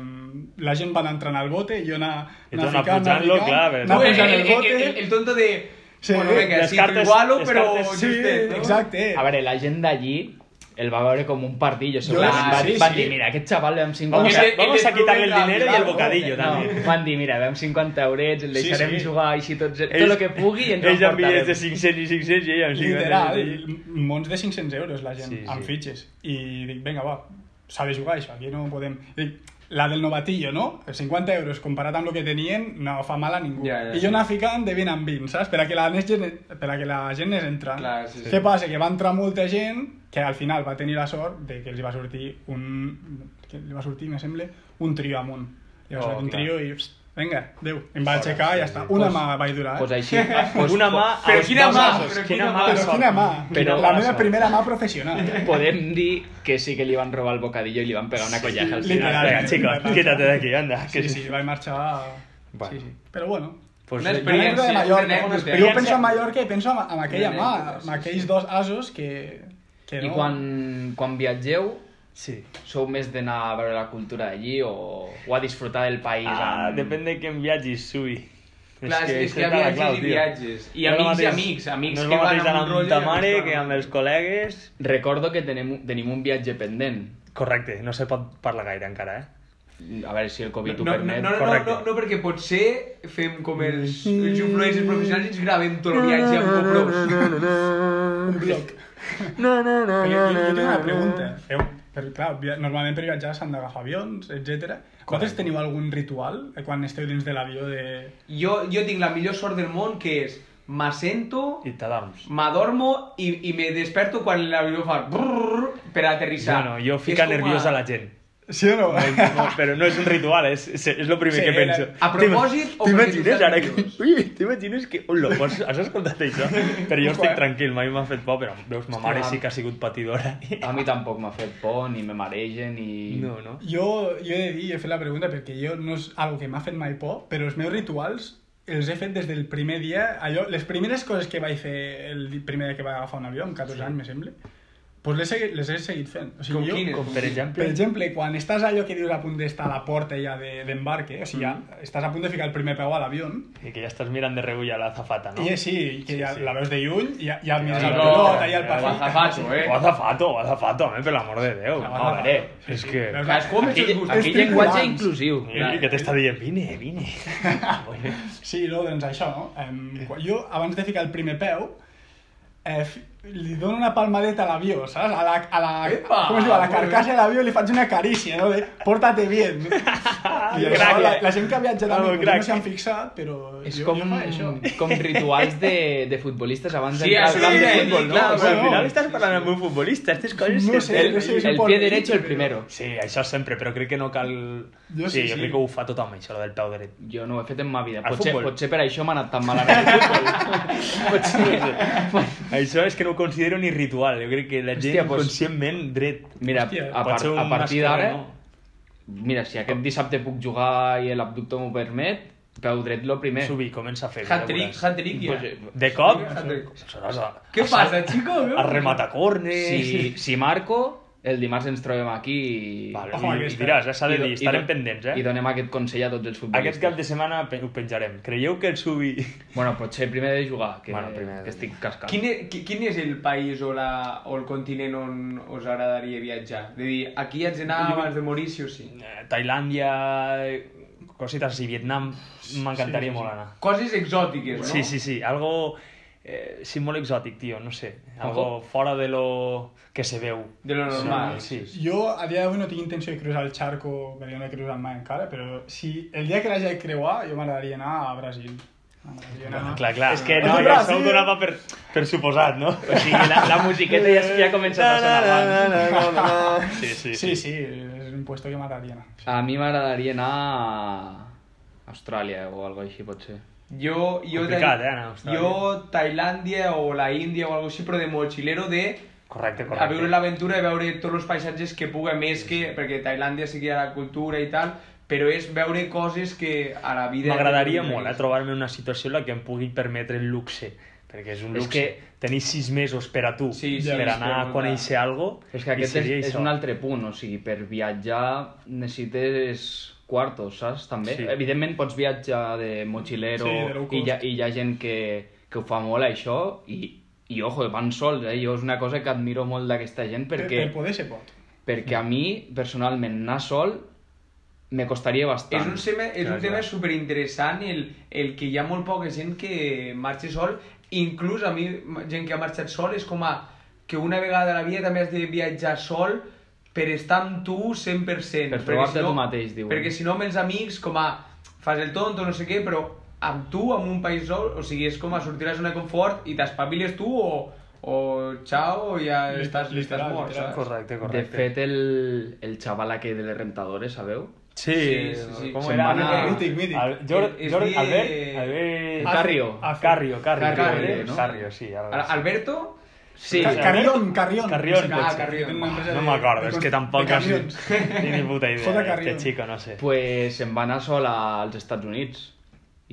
Speaker 5: la gent va anar entrant al bote i jo anar,
Speaker 2: I tu anar pujant-lo, clar, perquè-
Speaker 5: anar
Speaker 3: Tu, eh, el,
Speaker 5: pujant
Speaker 3: el,
Speaker 5: el
Speaker 3: el, el,
Speaker 5: bote...
Speaker 3: el tonto de...
Speaker 5: Sí.
Speaker 3: bueno, venga,
Speaker 2: Les
Speaker 3: sí,
Speaker 2: cartes-
Speaker 3: cartes, igualo,
Speaker 2: les
Speaker 3: però
Speaker 2: cartes-
Speaker 5: Sí,
Speaker 3: justet, no?
Speaker 5: exacte.
Speaker 4: A veure, la gent d'allí el va veure com un partido, segurament.
Speaker 5: sí,
Speaker 4: van,
Speaker 5: sí,
Speaker 4: van
Speaker 5: sí.
Speaker 4: dir, mira, aquest xaval ve amb 50...
Speaker 2: Vamos a,
Speaker 3: Ell- ell
Speaker 2: vamos a
Speaker 3: és
Speaker 2: quitarle el
Speaker 3: Rubén
Speaker 2: dinero y el
Speaker 3: Gabriel,
Speaker 2: bocadillo, també.
Speaker 4: No, van dir, mira, ve amb 50 eurets, el
Speaker 5: Sí,
Speaker 4: deixarem
Speaker 5: sí.
Speaker 4: jugar així tots, tot
Speaker 2: Ells-
Speaker 4: el que pugui i ens
Speaker 2: Ells
Speaker 4: ho
Speaker 2: amb bitllets de
Speaker 4: emportarem.
Speaker 2: 500 i 500 i ell amb 500.
Speaker 5: Literal, mons de 500 euros la gent,
Speaker 2: Sí,
Speaker 5: sí,
Speaker 2: sí.
Speaker 5: sí. amb fitxes. I dic, vinga, va, s'ha de jugar això, aquí no podem... Dic, la del novatillo, no? Els 50 euros comparat amb el que tenien no fa mal a ningú.
Speaker 3: Ja, ja,
Speaker 5: I
Speaker 3: sí.
Speaker 5: jo anar ficant de 20 en 20, saps? Per a que la, nes- gent, per a que la gent anés entrant.
Speaker 3: Clar, sí, sí.
Speaker 5: Què passa? Que va entrar molta gent que al final va tenir la sort de que els hi va sortir un... Que li va sortir, me sembla, un trio amunt. Li va
Speaker 2: Oh,
Speaker 5: sortir un
Speaker 2: clar,
Speaker 5: trio i... Pst, vinga, adéu. Em va
Speaker 2: Fora,
Speaker 5: aixecar i ja
Speaker 2: sí,
Speaker 5: està.
Speaker 2: sí.
Speaker 5: Una
Speaker 4: Pues-
Speaker 5: mà vaig durar. eh?
Speaker 4: Pues
Speaker 2: [LAUGHS]
Speaker 4: així. Pues,
Speaker 2: Una mà...
Speaker 4: po-
Speaker 3: Però
Speaker 2: als
Speaker 3: quina
Speaker 2: dos
Speaker 3: mà,
Speaker 2: braços,
Speaker 3: però
Speaker 2: quina
Speaker 3: quina
Speaker 2: mà,
Speaker 3: mà.
Speaker 5: Però
Speaker 2: sort.
Speaker 5: quina mà!
Speaker 4: Però-
Speaker 5: la meva primera mà professional. [LAUGHS]
Speaker 4: Podem dir que sí que li van robar el bocadillo i li van pegar una collaja al final.
Speaker 5: Literal.
Speaker 2: Venga, chicos, quítate de aquí, anda. que-
Speaker 5: Sí, sí, vaig marxar...
Speaker 2: Bueno.
Speaker 5: Sí, sí. Però bueno,
Speaker 2: Pues,
Speaker 3: Una
Speaker 2: eh,
Speaker 3: experiència-
Speaker 5: Anècdota de Mallorca.
Speaker 3: una
Speaker 5: Però jo
Speaker 3: experiència.
Speaker 5: penso en Mallorca i penso en, en aquella mà,
Speaker 3: Anècdotes,
Speaker 5: en
Speaker 3: sí,
Speaker 5: aquells dos asos que, que
Speaker 4: I
Speaker 5: no...
Speaker 4: quan, quan viatgeu,
Speaker 2: Sí.
Speaker 4: sou més d'anar a veure la cultura d'allí o, o a disfrutar del país?
Speaker 2: Ah,
Speaker 4: amb-
Speaker 2: depèn de què en viatgis, Sui.
Speaker 3: Clar, és que, és que hi ha
Speaker 2: això està
Speaker 3: viatges
Speaker 2: clar,
Speaker 3: i
Speaker 2: tio.
Speaker 3: viatges. I
Speaker 2: No és el
Speaker 3: amics i
Speaker 2: mateix-
Speaker 3: amics, amics
Speaker 2: no és
Speaker 3: que
Speaker 2: el
Speaker 3: van
Speaker 2: mateix
Speaker 3: amb
Speaker 2: anar
Speaker 3: un
Speaker 2: amb
Speaker 3: rotllo...
Speaker 2: ta
Speaker 3: i
Speaker 2: mare
Speaker 3: altres
Speaker 2: que
Speaker 3: van
Speaker 2: amb els col·legues...
Speaker 4: Recordo que tenim, tenim un viatge pendent.
Speaker 2: Correcte, no se pot parlar gaire encara, eh?
Speaker 4: A veure si el Covid
Speaker 3: No,
Speaker 4: ho
Speaker 3: no, no,
Speaker 4: permet.
Speaker 3: no, no,
Speaker 2: correcte.
Speaker 3: no, no, perquè potser fem com els, els influencers professionals i ens gravem tot el viatge amb GoPros.
Speaker 5: Un bloc. No, no, no, no, jo, jo tinc una pregunta. Eh, Heu, Però, clar, via- normalment per viatjar s'han d'agafar avions, etc. Vosaltres teniu algun ritual eh, quan esteu dins de l'avió de...
Speaker 3: Jo, jo tinc la millor sort del món, que és m'assento,
Speaker 2: I t'adorms.
Speaker 3: m'adormo i, i me desperto quan l'avió fa brrrr per aterrissar.
Speaker 2: Bueno, jo fica
Speaker 3: És com
Speaker 2: nerviosa la gent.
Speaker 5: Sí o [LAUGHS] no?
Speaker 2: Pues No, però no és un ritual, és, és, és el primer
Speaker 5: Sí,
Speaker 2: que penso.
Speaker 3: a
Speaker 5: era-
Speaker 3: propòsit o perquè
Speaker 2: T'imagines
Speaker 3: tu
Speaker 2: ara
Speaker 3: estàs
Speaker 2: que... [LAUGHS]
Speaker 3: nerviós?
Speaker 2: Ui, t'imagines que... Olo, has, has escoltat això? Però jo estic
Speaker 5: Ojo, eh?
Speaker 2: tranquil, mai m'ha fet por, però veus, ma mare
Speaker 4: va.
Speaker 2: sí que ha sigut patidora. [LAUGHS]
Speaker 4: A mi tampoc m'ha fet por, ni me maregen, ni...
Speaker 2: No, no.
Speaker 5: Jo, jo he de dir, he fet la pregunta perquè jo no és algo que m'ha fet mai por, però els meus rituals els he fet des del primer dia. Allò, les primeres coses que vaig fer el di- primer dia que vaig agafar un avió, amb 14 sí. anys, me sembla, doncs les, he, les he seguit fent.
Speaker 3: Com
Speaker 5: O sigui,
Speaker 3: quines?
Speaker 5: jo,
Speaker 2: Com per exemple...
Speaker 5: per exemple, quan estàs allò que dius a punt d'estar a la porta ja de- d'embarque, o sigui, ja estàs a punt de ficar el primer peu a l'avió,
Speaker 2: I que ja estàs mirant de regull a la zafata, no?
Speaker 5: i és, sí, que ja
Speaker 2: sí.
Speaker 5: la veus de lluny, ja, ja mires
Speaker 2: sí,
Speaker 5: la
Speaker 2: no,
Speaker 5: pilota i el
Speaker 2: no,
Speaker 3: L'azafato,
Speaker 5: passeig.
Speaker 3: eh?
Speaker 2: O azafato, o azafato, home, per l'amor de Déu.
Speaker 5: La
Speaker 2: No,
Speaker 5: azafato.
Speaker 2: a veure, és que...
Speaker 5: Veus la-
Speaker 3: Cadascú amb els
Speaker 4: Aquí,
Speaker 3: seus gustos.
Speaker 4: aquí
Speaker 5: És
Speaker 4: llenguatge
Speaker 5: tripulants.
Speaker 4: inclusiu.
Speaker 2: I que t'està dient, vine, vine.
Speaker 5: [LAUGHS]
Speaker 2: Bueno,
Speaker 5: Sí, no, doncs això, no? Em, quan- jo, abans de ficar el primer peu, eh, fi- li dono una palmadeta a l'avió, saps? A la, a la,
Speaker 3: Epa!
Speaker 5: com es diu? A la
Speaker 3: Molt bé.
Speaker 5: carcassa de l'avió li faig una carícia, no? De, pórtate bien. I
Speaker 2: Crac,
Speaker 5: això, la,
Speaker 2: eh?
Speaker 5: la gent que ha viatjat
Speaker 2: Bravo,
Speaker 5: amb mi potser
Speaker 2: crac.
Speaker 5: no s'han fixat, però
Speaker 4: És
Speaker 5: jo,
Speaker 4: com,
Speaker 5: jo fa això.
Speaker 4: com rituals de, de futbolistes abans
Speaker 3: Sí,
Speaker 4: d'entrar al
Speaker 3: això
Speaker 4: camp
Speaker 3: sí,
Speaker 4: de
Speaker 3: sí,
Speaker 4: futbol, no?
Speaker 3: clar,
Speaker 2: Clar, però
Speaker 4: O sigui,
Speaker 2: al final
Speaker 5: no.
Speaker 2: estàs parlant amb un futbolista, aquestes coses...
Speaker 5: No sé,
Speaker 2: el-
Speaker 5: no sé, és un
Speaker 4: El
Speaker 5: poc
Speaker 4: pie
Speaker 5: ridícul,
Speaker 4: derecho el
Speaker 5: però-
Speaker 4: primero.
Speaker 2: Sí, això sempre, però crec que no cal...
Speaker 5: Jo
Speaker 2: sí,
Speaker 5: sí,
Speaker 2: jo
Speaker 5: sí.
Speaker 2: crec que ho fa tothom, això, lo del peu dret.
Speaker 4: Jo no ho he fet en ma vida.
Speaker 2: Al
Speaker 4: Potser,
Speaker 2: futbol.
Speaker 4: potser per això m'ha anat tan malament el futbol. [LAUGHS] potser...
Speaker 2: Això és que no ho considero ni ritual, jo crec que la gent
Speaker 4: Hòstia, doncs-
Speaker 2: conscientment dret.
Speaker 4: Mira,
Speaker 5: Hòstia,
Speaker 4: a,
Speaker 2: Pot
Speaker 4: par
Speaker 2: ser un
Speaker 4: a partir
Speaker 2: esquerre,
Speaker 4: d'ara...
Speaker 2: no?
Speaker 4: Mira, si aquest dissabte puc jugar i l'abductor m'ho permet, peu dret lo primer.
Speaker 2: Subir, comença a fer. ja
Speaker 3: Hat-trick,
Speaker 2: veuràs.
Speaker 3: hat-trick, ja.
Speaker 4: Pues,
Speaker 2: De cop?
Speaker 3: Hat-trick.
Speaker 2: Seràs a...
Speaker 3: Què passa, xico?
Speaker 2: A rematar cornes...
Speaker 4: Si, si marco, el dimarts ens trobem aquí i...
Speaker 2: Vale,
Speaker 5: Ojo,
Speaker 2: i, i
Speaker 5: aquesta.
Speaker 2: diràs, ja s'ha de
Speaker 4: i do-
Speaker 2: dir,
Speaker 4: i do-
Speaker 2: estarem pendents, eh?
Speaker 4: I donem aquest consell a tots els futbolistes.
Speaker 2: Aquest cap de setmana pe- ho penjarem. Creieu que el Subi... eh,
Speaker 4: Bueno, potser primer de jugar, que,
Speaker 2: Bueno, primer de-
Speaker 4: que estic cascat.
Speaker 3: Quin, e- qui- quin és el país o, la, o el continent on us agradaria viatjar? De dir, aquí haig d'anar abans de morir, sí o sí.
Speaker 2: eh, Tailàndia... eh, Cositas així, Vietnam... M'encantaria molt anar.
Speaker 3: Coses exòtiques, no?
Speaker 2: Sí, sí, sí. Algo... Eh, sí, molt exòtic, tio, no sé. Algo
Speaker 4: Ojo.
Speaker 2: fora de lo que se veu.
Speaker 3: De lo
Speaker 4: Ah,
Speaker 3: normal.
Speaker 2: Sí, sí.
Speaker 5: Jo a dia d'avui no tinc intenció de cruzar el xarco, perquè jo no he cruzat mai encara, però si el dia que l'hagi de creuar, jo m'agradaria anar a Brasil. M'agradaria anar...
Speaker 2: Clar, clar, és que no,
Speaker 5: Ah,
Speaker 2: ja
Speaker 5: sí.
Speaker 2: això ho donava per, per suposat, no?
Speaker 4: O sigui, la, la musiqueta ja, ja comença a sonar abans.
Speaker 2: Sí, sí, sí.
Speaker 5: Sí, sí, és un puesto que m'agradaria anar.
Speaker 4: A mi m'agradaria anar a Austràlia o alguna així, potser.
Speaker 3: Jo, jo,
Speaker 2: Complicat, eh, anar a Austràlia.
Speaker 3: jo Tailàndia o la Índia o alguna cosa així, però de mochilero de
Speaker 2: Correcte,
Speaker 3: a viure
Speaker 2: correcte.
Speaker 3: l'aventura i veure tots els paisatges que puga més que... Perquè Tailàndia sí que hi ha la cultura i tal, però és veure coses que a la vida...
Speaker 2: M'agradaria molt eh, trobar-me en una situació en la que em pugui permetre el luxe, perquè és un
Speaker 4: És
Speaker 2: luxe.
Speaker 4: que-
Speaker 2: Tenir sis mesos per a tu,
Speaker 3: Sí, sí,
Speaker 2: per
Speaker 3: és
Speaker 2: anar
Speaker 3: que-
Speaker 2: a conèixer algo,
Speaker 4: Però és que aquest
Speaker 2: i seria
Speaker 4: és, és
Speaker 2: això.
Speaker 4: un altre punt, o sigui, per viatjar necessites quartos, saps? També.
Speaker 2: Sí.
Speaker 4: Sí. Evidentment pots viatjar de mochilero
Speaker 5: Sí, de low
Speaker 4: i,
Speaker 5: cost.
Speaker 4: hi ha, i hi ha gent que, que ho fa molt, això, i, i ojo, van sols, eh? Jo és una cosa que admiro molt d'aquesta gent perquè,
Speaker 5: Per, per poder ser pot.
Speaker 4: perquè a mi, personalment, anar sol me costaria
Speaker 3: És
Speaker 4: bastant.
Speaker 3: un tema, és
Speaker 2: Clar,
Speaker 3: un tema
Speaker 2: clar.
Speaker 3: superinteressant el, el que hi ha molt poca gent que marxa sol, inclús a mi m- gent que ha marxat sol és com a que una vegada a la vida també has de viatjar sol per estar amb tu 100%. perquè
Speaker 4: trobar-te
Speaker 3: si no-
Speaker 4: tu mateix, diuen.
Speaker 3: Perquè si no amb els amics com a fas el tonto, no sé què, però amb tu, amb un país sol, o sigui, és com a sortir a la zona de confort i t'espaviles tu o, o xao, ja
Speaker 5: Literal,
Speaker 3: estàs, estàs
Speaker 5: literal,
Speaker 3: mort,
Speaker 5: literal.
Speaker 3: saps?
Speaker 2: Correcte,
Speaker 4: De
Speaker 2: correcte.
Speaker 4: fet, el, el xaval aquell de les rentadores, sabeu?
Speaker 2: Sí,
Speaker 3: Sí, sí, sí.
Speaker 2: com
Speaker 4: Se'n
Speaker 2: era?
Speaker 4: va anar-
Speaker 5: Mític, mític.
Speaker 2: Al- Jordi,
Speaker 3: Es-
Speaker 2: Jordi,
Speaker 3: es
Speaker 2: Albert,
Speaker 3: de-
Speaker 2: Albert...
Speaker 4: Ah, Carrio.
Speaker 5: Afe-
Speaker 2: Carrio, Carrio.
Speaker 4: Carrio,
Speaker 2: Carrio,
Speaker 4: no?
Speaker 2: Carrio, sí. ara
Speaker 3: eh? Al-
Speaker 2: sí.
Speaker 3: Alberto,
Speaker 4: Sí,
Speaker 5: Ca-
Speaker 2: Sí.
Speaker 5: Carrión, Carrión.
Speaker 2: Carrión,
Speaker 5: Sí,
Speaker 2: potser.
Speaker 5: ah, Carrión.
Speaker 3: Ah,
Speaker 5: Tengo una empresa
Speaker 2: No
Speaker 5: de-
Speaker 2: me acuerdo,
Speaker 5: de
Speaker 2: es
Speaker 5: cons-
Speaker 2: que
Speaker 5: de
Speaker 2: tampoco así.
Speaker 5: [LAUGHS]
Speaker 2: [LAUGHS]
Speaker 5: carrión.
Speaker 2: Ni, ni puta idea.
Speaker 5: Jota
Speaker 2: de
Speaker 5: Carrión.
Speaker 2: Este chico, no sé.
Speaker 4: pues se'n va anar sol als Estats Units.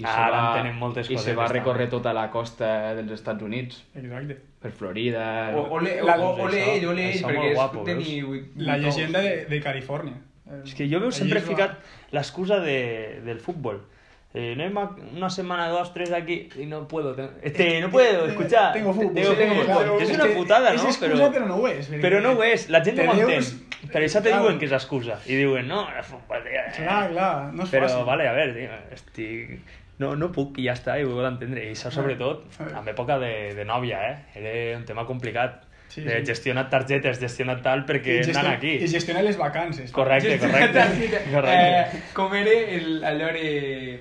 Speaker 2: Ah, ara en tenen moltes
Speaker 4: I se
Speaker 2: cosetes,
Speaker 4: va
Speaker 2: també.
Speaker 4: recórrer tota la costa dels Estats Units,
Speaker 5: Exacte.
Speaker 4: per Florida...
Speaker 3: O, ole,
Speaker 5: La-
Speaker 3: o, ole
Speaker 2: això-
Speaker 3: ell, ole ell,
Speaker 2: això
Speaker 3: perquè
Speaker 2: molt
Speaker 3: és
Speaker 2: guapo,
Speaker 3: de
Speaker 2: veus?
Speaker 3: mi... vuit-
Speaker 5: La
Speaker 3: vuit
Speaker 5: llegenda
Speaker 3: ous. [LAUGHS]
Speaker 5: de, de Califòrnia.
Speaker 2: Es que yo veo
Speaker 5: Allí
Speaker 2: siempre
Speaker 5: es
Speaker 2: fijar la excusa de, del fútbol. Eh, no hay más, una semana, dos, tres aquí y no puedo. te- Este, no puedo, escuchar.
Speaker 5: Tengo fútbol.
Speaker 2: Tengo
Speaker 5: sí,
Speaker 2: fútbol.
Speaker 5: claro.
Speaker 2: es una putada,
Speaker 5: És
Speaker 2: ¿no?
Speaker 5: excusa, però,
Speaker 2: Pero-
Speaker 5: no eh, ho és. perquè
Speaker 2: Però no ho és, la gent
Speaker 5: te
Speaker 2: no ho entén.
Speaker 5: deus-
Speaker 2: Per això te
Speaker 5: Clar,
Speaker 2: diuen que és excusa. I diuen, no, el futbol... eh,
Speaker 5: Clar, clar, no és
Speaker 2: Però,
Speaker 5: fàcil.
Speaker 2: vale, a veure, tio, estic... No, no puc i ja està, i ho he d'entendre. I això, sobretot,
Speaker 5: Eh.
Speaker 2: en època de, de nòvia, eh? Era un tema complicat.
Speaker 5: Sí,
Speaker 2: de
Speaker 5: sí.
Speaker 2: gestionar targetes, gestionar tal, perquè
Speaker 5: I
Speaker 2: anant
Speaker 5: gestion-
Speaker 2: aquí.
Speaker 5: I gestionar les vacances.
Speaker 2: Correcte, correcte. correcte.
Speaker 3: Eh, com era el, allò era...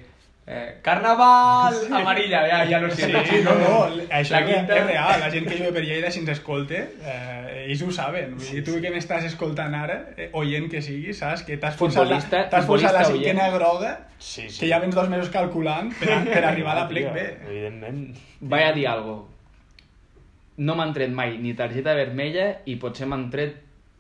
Speaker 3: Eh, carnaval amarilla, ja, ja lo
Speaker 5: Sí,
Speaker 3: siento,
Speaker 5: no,
Speaker 3: chicos.
Speaker 5: no, això
Speaker 3: La
Speaker 5: és,
Speaker 3: quinta-
Speaker 5: és real. La gent que viu per Lleida, si ens escolta, eh, ells ho saben. Sí, I tu que m'estàs escoltant ara, eh, oient que sigui, saps que t'has posat la,
Speaker 4: Futbolista-
Speaker 5: t'has posat la
Speaker 4: futbolista
Speaker 5: cinquena groga,
Speaker 2: Sí, sí.
Speaker 5: que ja vens dos mesos calculant per, a- per arribar a la plec B.
Speaker 2: Evidentment.
Speaker 4: Vaig a dir algo. No m'han tret mai ni targeta vermella i potser m'han tret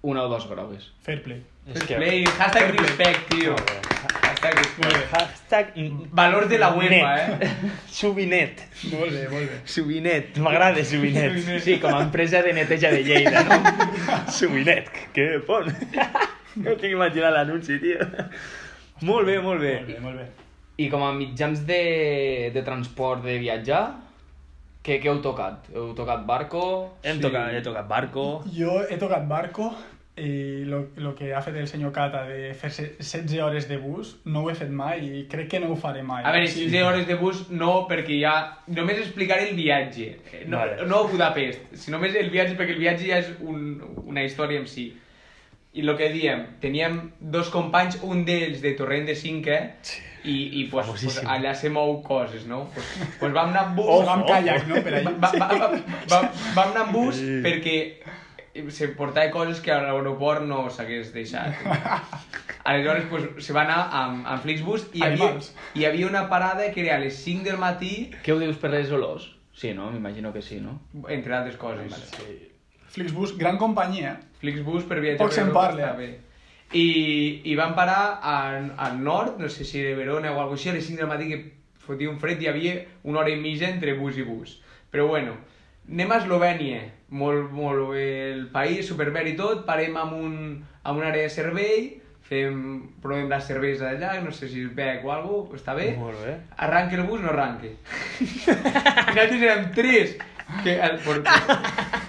Speaker 4: una o dues grogues.
Speaker 5: Fair play.
Speaker 2: És que...
Speaker 3: Play, hashtag respect, tio.
Speaker 2: Molt bé.
Speaker 3: Hashtag respect.
Speaker 5: Molt bé,
Speaker 2: Hashtag...
Speaker 3: Valors de la UEFA,
Speaker 5: [LAUGHS]
Speaker 2: Net.
Speaker 3: eh?
Speaker 2: Subinet.
Speaker 5: molt bé, molt bé.
Speaker 2: Subinet. M'agrada Subinet.
Speaker 4: Sí, com a empresa de neteja de Lleida, no?
Speaker 5: [LAUGHS]
Speaker 2: Subinet. Que pon. No tinc imaginar l'anunci, tio. Molt bé, molt
Speaker 5: Molt
Speaker 2: bé.
Speaker 5: bé, molt bé.
Speaker 4: I com a mitjans de, de transport de viatjar, què, què heu tocat? Heu tocat barco?
Speaker 2: Hem tocat, he tocat barco.
Speaker 5: Jo he tocat barco i el que ha fet el senyor Cata de fer se- 16 hores de bus no ho he fet mai i crec que no ho faré mai.
Speaker 3: A veure,
Speaker 5: Sí.
Speaker 3: 16 hores de bus no, perquè ja... Només explicaré el viatge, eh, no,
Speaker 2: Vale.
Speaker 3: no Budapest, sinó només el viatge, perquè el viatge ja és un, una història en si. I el que diem, teníem dos companys, un d'ells de Torrent de Cinque, i, i pues, pues,
Speaker 2: Famosíssim.
Speaker 3: allà se mou coses, no? Pues, pues vam anar amb bus...
Speaker 5: O amb
Speaker 2: Ojo.
Speaker 5: kayak, no? Per
Speaker 3: va,
Speaker 5: allà.
Speaker 3: va, va, va, vam anar amb bus
Speaker 2: Sí.
Speaker 3: perquè se portava coses que a l'aeroport no s'hagués deixat. Aleshores, pues, se va anar amb, amb Flixbus i hi havia,
Speaker 5: Animals.
Speaker 3: hi havia una parada que era a les 5 del matí,
Speaker 4: Què ho dius per les olors? Sí, no? M'imagino que sí, no?
Speaker 3: entre altres coses.
Speaker 5: Flixbus, gran companyia.
Speaker 3: Flixbus per viatjar
Speaker 5: Poc
Speaker 3: per
Speaker 5: se'n
Speaker 3: Europa
Speaker 5: parla.
Speaker 3: està bé. I, I vam parar al, al nord, no sé si de Verona o alguna així, a les 5 del matí que fotia un fred i hi havia una hora i mitja entre bus i bus. Però bueno, anem a Eslovènia, molt, molt bé el país, superbé i tot, parem amb un, amb un àrea de servei, fem, provem la cervesa d'allà, no sé si és bec o alguna cosa, està bé.
Speaker 2: Molt bé.
Speaker 3: Arranque el bus, no arranque. Nosaltres érem tres. Que, el, por,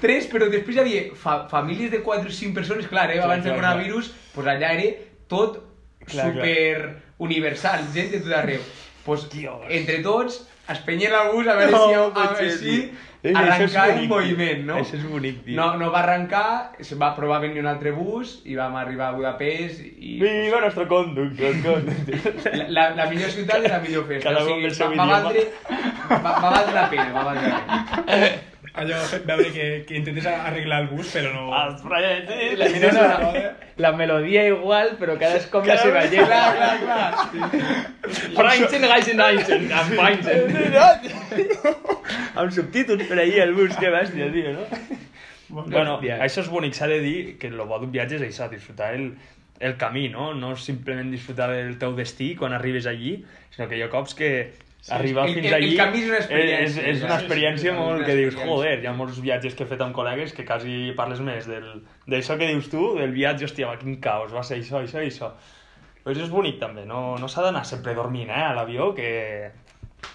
Speaker 3: tres, però després hi havia fa, famílies de 4 o 5 persones, clar, eh,
Speaker 2: Clar,
Speaker 3: abans del
Speaker 2: clar, clar.
Speaker 3: coronavirus, pues allà era tot
Speaker 2: Clar, clar.
Speaker 3: super universal, gent de tot arreu. Pues,
Speaker 2: Dios.
Speaker 3: entre tots, es penyen el bus a veure si, a, a veure si
Speaker 2: Eh, això és
Speaker 3: arrencava el
Speaker 2: bonic,
Speaker 3: moviment,
Speaker 2: tio.
Speaker 3: no?
Speaker 2: Això és bonic, tio.
Speaker 3: No, no va arrencar, es va provar a venir un altre bus i vam arribar a Budapest i...
Speaker 2: Viva nuestro conductor,
Speaker 3: [LAUGHS]
Speaker 2: conductor.
Speaker 3: La, la, la millor ciutat i la millor festa.
Speaker 2: Cada un del seu
Speaker 3: va, va,
Speaker 2: idioma.
Speaker 3: valdre, va, va valdre la pena, va valdre
Speaker 2: [LAUGHS]
Speaker 3: la pena.
Speaker 5: Allò, fet veure que, que intentes arreglar el bus, però no...
Speaker 2: Els projectils.
Speaker 5: La mires
Speaker 3: Ah.
Speaker 5: a la roda...
Speaker 4: La melodia igual, però cadascú amb la seva
Speaker 3: Clar,
Speaker 4: lletra.
Speaker 3: clar, clar.
Speaker 4: Franzen, Reisen, Reisen, Franzen.
Speaker 3: [LAUGHS]
Speaker 2: amb subtítols per ahir al bus, que bèstia, tio, no? Bueno,
Speaker 4: Hòstia.
Speaker 2: això és bonic, s'ha de dir que el bo d'un viatge és això, disfrutar el, el camí, no? No simplement disfrutar del teu destí quan arribes allí, sinó que hi ha cops que arribar
Speaker 3: el-
Speaker 2: fins
Speaker 3: el- el
Speaker 2: allí
Speaker 3: camí és una
Speaker 2: és,
Speaker 3: experiència,
Speaker 2: és
Speaker 3: ja.
Speaker 2: una
Speaker 3: Sí, sí,
Speaker 2: experiència
Speaker 3: sí,
Speaker 2: molt
Speaker 3: una
Speaker 2: que dius,
Speaker 3: experiència.
Speaker 2: joder, hi ha molts viatges que he fet amb col·legues que quasi parles més del- d'això que dius tu, del viatge, hòstia, va, quin caos, va ser això, això i això. Però això és bonic també, no, no s'ha d'anar sempre dormint, eh, a l'avió, que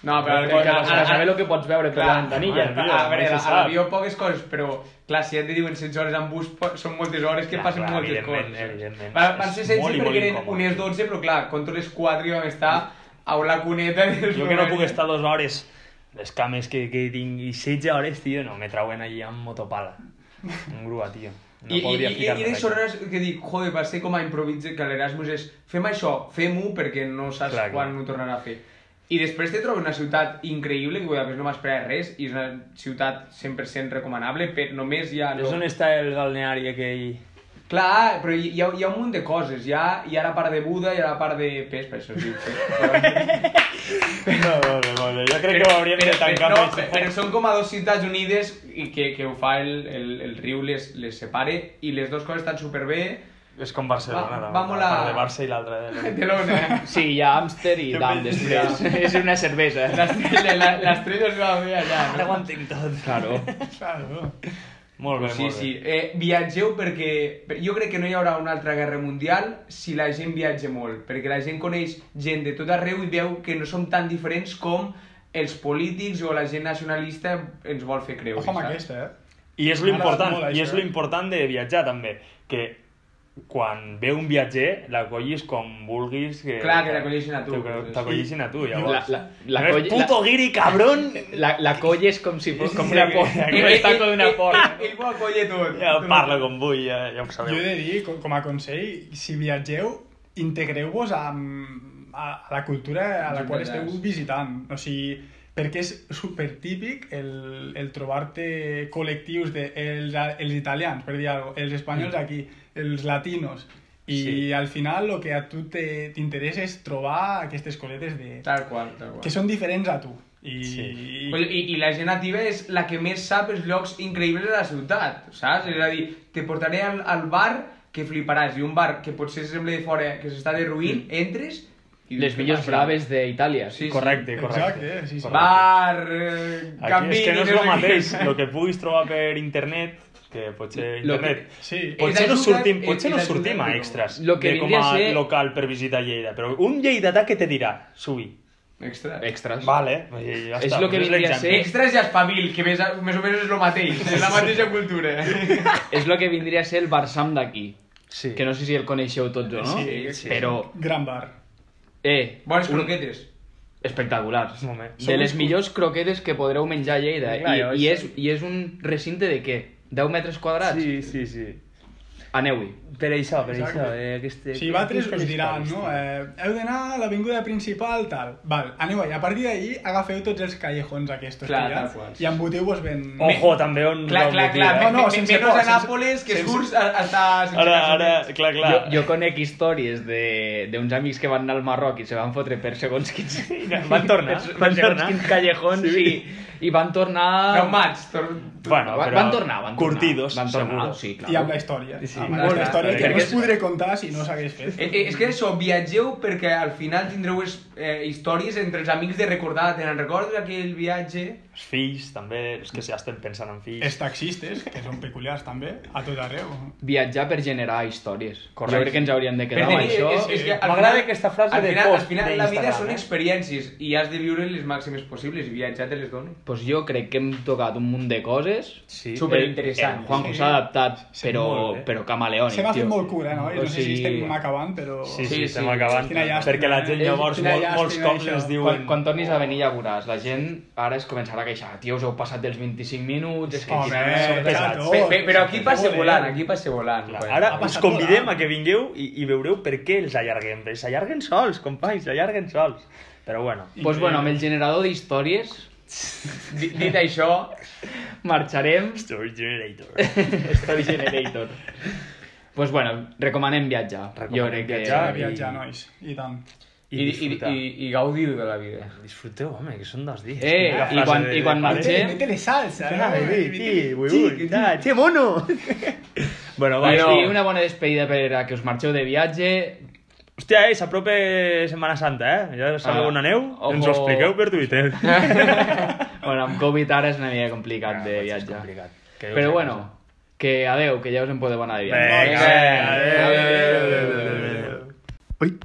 Speaker 3: No, però
Speaker 4: Perquè
Speaker 3: a-
Speaker 4: cadascú
Speaker 3: a-
Speaker 4: saber el que pots veure per la ventanilla.
Speaker 2: mare.
Speaker 3: A veure,
Speaker 2: mai se
Speaker 3: a
Speaker 2: sap.
Speaker 3: l'avió poques coses, però clar, si ja et diuen 16 hores en bus, po- són moltes hores que
Speaker 2: Clar,
Speaker 3: passen
Speaker 2: clar,
Speaker 3: moltes
Speaker 2: evidentment,
Speaker 3: coses.
Speaker 2: evidentment.
Speaker 3: Va, van
Speaker 2: És
Speaker 3: ser 16
Speaker 2: molt i molt
Speaker 3: perquè eren
Speaker 2: incòmode.
Speaker 3: unes 12, però clar, contra les 4 i vam estar a la cuneta. de
Speaker 2: Jo que no puc
Speaker 3: Eslovènia.
Speaker 2: estar dues hores les cames que, que tinc i 16 hores, tio, no, me trauen allí amb motopala. Un grua, tio. No
Speaker 3: I, i,
Speaker 2: podria
Speaker 3: i,
Speaker 2: ficar-me
Speaker 3: i de
Speaker 2: aquí.
Speaker 3: sorres que dic, joder, va ser com a improvisar que l'Erasmus és fem això, fem-ho perquè no saps
Speaker 2: Clar, clar.
Speaker 3: quan ho tornarà a fer. I després te trobes una ciutat increïble que Budapest no m'esperava res i és una ciutat 100% recomanable, però només hi ha...
Speaker 2: És on està el balneari aquell...
Speaker 3: Clar, però hi, hi, ha, hi ha un munt de coses. Hi ha, hi ha la part de Buda, hi ha la part de... Pes, per això es diu. Pes.
Speaker 2: No, no, no, no, jo [LAUGHS] crec que ho hauríem de tancar.
Speaker 3: no,
Speaker 2: més.
Speaker 3: però són com a dues ciutats unides i que, que ho fa el, el, el riu, les, les separe i les dues coses estan superbé.
Speaker 2: És com Barcelona,
Speaker 3: Va-
Speaker 2: la,
Speaker 3: vamos
Speaker 2: la
Speaker 3: la-
Speaker 2: part de Barça i l'altra
Speaker 3: [LAUGHS]
Speaker 2: de...
Speaker 3: Telona.
Speaker 4: Sí, hi ha Amster i
Speaker 2: Jo
Speaker 4: Dam
Speaker 2: penso
Speaker 4: després. És una cervesa.
Speaker 3: L'estrella, la- l'estrella es va bé allà.
Speaker 2: Ara ho
Speaker 3: No?
Speaker 2: entenc tot. Claro.
Speaker 5: Claro.
Speaker 2: Molt bé,
Speaker 3: Sí,
Speaker 2: molt bé.
Speaker 3: sí. Eh, viatgeu perquè... per- Jo crec que no hi haurà una altra guerra mundial si la gent viatja molt, perquè la gent coneix gent de tot arreu i veu que no som tan diferents com els polítics o la gent nacionalista ens vol fer creure.
Speaker 5: Ojo amb
Speaker 3: saps?
Speaker 5: aquesta, eh?
Speaker 2: I és
Speaker 5: M'ha agradat
Speaker 2: l'important,
Speaker 5: molt,
Speaker 2: i és
Speaker 5: això, eh?
Speaker 2: l'important de viatjar també, que quan ve un viatger, l'acollis com vulguis. Que,
Speaker 3: Clar, que l'acolleixin a tu.
Speaker 2: que T'acollixin a tu,
Speaker 4: La,
Speaker 2: llavors.
Speaker 4: la, la,
Speaker 2: no
Speaker 4: coll,
Speaker 2: és puto guiri, cabrón!
Speaker 4: la, la coll és com si fos com una
Speaker 2: Sí,
Speaker 4: porta.
Speaker 2: sí, sí.
Speaker 3: Eh,
Speaker 4: Està com una porta.
Speaker 3: Ell ho acolla tot.
Speaker 2: Ja parla com vull, ja, ja ho sabeu.
Speaker 5: Jo he de dir, co- com a consell, si viatgeu, integreu-vos amb, a, a la cultura a
Speaker 4: Sí,
Speaker 5: la qual
Speaker 4: veràs.
Speaker 5: esteu visitant. O sigui, perquè és supertípic el, el trobar-te col·lectius de els, a- els italians, per dir alguna cosa, els
Speaker 3: Mm.
Speaker 5: espanyols aquí, els latinos, i
Speaker 2: Sí.
Speaker 5: al final el que a tu te- t'interessa és trobar aquestes coletes de,
Speaker 3: Tal qual, tal qual.
Speaker 5: que són diferents a tu. I,
Speaker 2: Sí.
Speaker 5: i,
Speaker 3: Coi, I, I la gent nativa és la que més sap els llocs increïbles de la ciutat, saps? És a dir, te portaré al, al bar que fliparàs, i un bar que potser sembla de fora, que s'està derruint,
Speaker 2: Mm.
Speaker 3: entres... I dius,
Speaker 4: Les
Speaker 3: "Què
Speaker 4: millors
Speaker 3: passa?"
Speaker 4: braves d'Itàlia.
Speaker 3: Sí, sí.
Speaker 2: Correcte, correcte.
Speaker 5: Exacte, sí, sí.
Speaker 3: Bar, eh,
Speaker 2: Aquí és que no és
Speaker 3: sé
Speaker 2: el
Speaker 3: què.
Speaker 2: mateix, el que puguis trobar per internet, que potser
Speaker 4: Lo que-
Speaker 2: internet...
Speaker 5: sí.
Speaker 2: Potser no
Speaker 3: ajuda-
Speaker 2: sortim,
Speaker 3: eh,
Speaker 2: potser no
Speaker 3: ajuda,
Speaker 2: sortim a
Speaker 3: però-
Speaker 2: extras
Speaker 4: Lo que
Speaker 2: de com
Speaker 4: vindria
Speaker 2: a
Speaker 4: a ser-
Speaker 2: local per visitar Lleida, però un lleidatà que te dirà, subi.
Speaker 3: Extra.
Speaker 4: Extras.
Speaker 2: Vale, eh, ja
Speaker 4: És
Speaker 2: està,
Speaker 4: lo que
Speaker 2: és
Speaker 4: vindria a
Speaker 2: l'exemple.
Speaker 4: ser-
Speaker 3: Extras i espavil, que més, més o menys és el mateix, és la
Speaker 2: [LAUGHS]
Speaker 3: mateixa cultura.
Speaker 4: És el que vindria a ser el Barsam d'aquí.
Speaker 2: Sí.
Speaker 4: Que no sé si el coneixeu tots o no.
Speaker 2: Sí, sí.
Speaker 4: Però,
Speaker 5: Gran bar.
Speaker 4: eh,
Speaker 3: Bones croquetes.
Speaker 4: espectaculars.
Speaker 2: Un moment.
Speaker 4: De les millors croquetes que podreu menjar a Lleida.
Speaker 2: Clar,
Speaker 4: I,
Speaker 2: jo
Speaker 4: i,
Speaker 2: això-
Speaker 4: és, I és un recinte de què? 10 metres quadrats?
Speaker 2: Sí, sí, sí.
Speaker 4: Aneu-hi.
Speaker 2: Per això, per
Speaker 5: Exacte.
Speaker 2: això. Eh, aquestes,
Speaker 5: Si vosaltres us diran, no? Eh, heu d'anar a l'avinguda principal, tal. Val, aneu allà. A partir d'ahir agafeu tots els callejons aquests
Speaker 3: Clar, tal
Speaker 5: tirats
Speaker 3: qual.
Speaker 5: i emboteu-vos ben...
Speaker 2: Ojo, també on...
Speaker 3: Clar,
Speaker 2: on
Speaker 3: clar,
Speaker 2: ho
Speaker 3: clar.
Speaker 2: tira,
Speaker 5: No,
Speaker 2: [LAUGHS]
Speaker 5: no,
Speaker 3: Me- me-
Speaker 5: sense
Speaker 3: Menos
Speaker 5: por,
Speaker 3: a
Speaker 5: sense-
Speaker 3: Nàpoles, que
Speaker 5: sense-
Speaker 3: surts a, a, a,
Speaker 2: eh? Ara, ara, clar, clar.
Speaker 4: Jo, jo conec històries de- d'uns amics que van anar al Marroc i se van fotre per segons quins...
Speaker 2: [LAUGHS] Van tornar,
Speaker 4: Per, per
Speaker 2: van
Speaker 4: segons
Speaker 2: tornar.
Speaker 4: quins callejons
Speaker 2: Sí.
Speaker 4: i, i van tornar...
Speaker 3: Traumats. tor-
Speaker 2: Bueno,
Speaker 4: van,
Speaker 2: però...
Speaker 4: van tornar, van tornar.
Speaker 2: Curtidos,
Speaker 4: van tornar,
Speaker 2: seguro.
Speaker 4: Sí, clar.
Speaker 5: I amb la història.
Speaker 2: Sí,
Speaker 5: Sí, amb
Speaker 2: molt
Speaker 5: la
Speaker 2: bé.
Speaker 5: història que no
Speaker 4: Perquè
Speaker 5: us podré contar si no s'hagués fet.
Speaker 3: Eh, eh, és que això, viatgeu perquè al final tindreu es, eh, històries entre els amics de recordar, tenen recordes aquell viatge...
Speaker 2: Els fills, també, és que ja estem pensant en fills.
Speaker 5: Els taxistes, que són peculiars també, a tot arreu.
Speaker 4: Viatjar per generar històries.
Speaker 2: Correcte.
Speaker 4: Jo crec que ens hauríem de quedar
Speaker 3: Per
Speaker 4: amb
Speaker 3: tenir-
Speaker 4: això.
Speaker 3: és- és que al
Speaker 2: M'agrada
Speaker 3: final-
Speaker 2: aquesta frase
Speaker 3: al
Speaker 2: de
Speaker 3: final,
Speaker 2: post
Speaker 3: Al final la vida
Speaker 2: d'Instagram,
Speaker 3: són
Speaker 2: eh?
Speaker 3: experiències i has de viure les màximes possibles i viatjar te les dona.
Speaker 4: Pues jo crec que hem tocat un munt de coses.
Speaker 2: Sí. Eh,
Speaker 3: Superinteressant.
Speaker 4: El Juanjo s'ha adaptat,
Speaker 5: Sí,
Speaker 4: però,
Speaker 2: molt bé.
Speaker 4: però camaleònic,
Speaker 5: Se m'ha fet
Speaker 4: tio.
Speaker 5: molt cura, no? No sé si estem acabant, però...
Speaker 2: Sí, sí,
Speaker 4: Sí,
Speaker 2: estem
Speaker 4: sí.
Speaker 2: acabant.
Speaker 5: Quina llàstima,
Speaker 2: perquè la gent
Speaker 5: eh?
Speaker 2: llavors
Speaker 5: Quina
Speaker 2: molt, molts
Speaker 5: llàstima,
Speaker 2: cops
Speaker 5: això.
Speaker 2: les diuen...
Speaker 4: Quan, quan tornis a venir ja veuràs, la gent ara es començarà a queixar. Tio, us heu passat dels 25 minuts, és que...
Speaker 5: Home, eh,
Speaker 2: Són pesats.
Speaker 5: clar, tot.
Speaker 3: Pe- pe- però aquí passa
Speaker 5: Joder.
Speaker 3: volant, aquí passa volant.
Speaker 2: Clar,
Speaker 3: Juan.
Speaker 2: Ara
Speaker 5: Ha
Speaker 2: us
Speaker 5: passat
Speaker 2: convidem a
Speaker 5: volant.
Speaker 2: que vingueu i, i veureu per què els allarguem. Perquè s'allarguen sols, companys, s'allarguen sols. Però bueno,
Speaker 4: Doncs pues bueno, amb el generador d'històries
Speaker 3: Di- Dit això,
Speaker 4: marxarem
Speaker 2: Story [LAUGHS] Generator.
Speaker 4: Story Generator. pues bueno, recomanem viatjar.
Speaker 2: Recomanem
Speaker 4: jo crec que...
Speaker 3: eh?
Speaker 2: viatjar.
Speaker 5: Viatjar, nois, i tant.
Speaker 3: i, i, i, i gaudiu de la vida.
Speaker 2: Disfruteu, home, que són dos dies.
Speaker 4: Eh,
Speaker 2: Quina
Speaker 4: i
Speaker 2: frase
Speaker 4: quan-
Speaker 2: de-
Speaker 4: i quan
Speaker 2: de pare.
Speaker 4: marxem- Sí.
Speaker 5: Mete-le salsa,
Speaker 2: Ah,
Speaker 5: no?
Speaker 2: sí, sí, ui, ui, ah, che mono! [LAUGHS] bueno, va,
Speaker 4: Bueno,
Speaker 2: bueno.
Speaker 4: I una bona despedida per a que us marxeu de viatge.
Speaker 2: Hòstia, eh, s'apropa Setmana Santa, eh? Ja sabeu
Speaker 4: Ah,
Speaker 2: on aneu,
Speaker 4: ojo.
Speaker 2: ens ho expliqueu per
Speaker 4: [LAUGHS]
Speaker 2: Twitter.
Speaker 4: bueno, amb Covid ara és una mica complicat
Speaker 2: Ah,
Speaker 4: de
Speaker 2: potser és
Speaker 4: viatjar.
Speaker 2: complicat. Quedeu-vos a
Speaker 4: Però
Speaker 2: casa.
Speaker 4: bueno, que adeu, que ja us en podeu anar de viatge.
Speaker 2: Vinga,
Speaker 5: Vinga,
Speaker 2: adéu, adéu, adéu, adéu.
Speaker 5: Ui.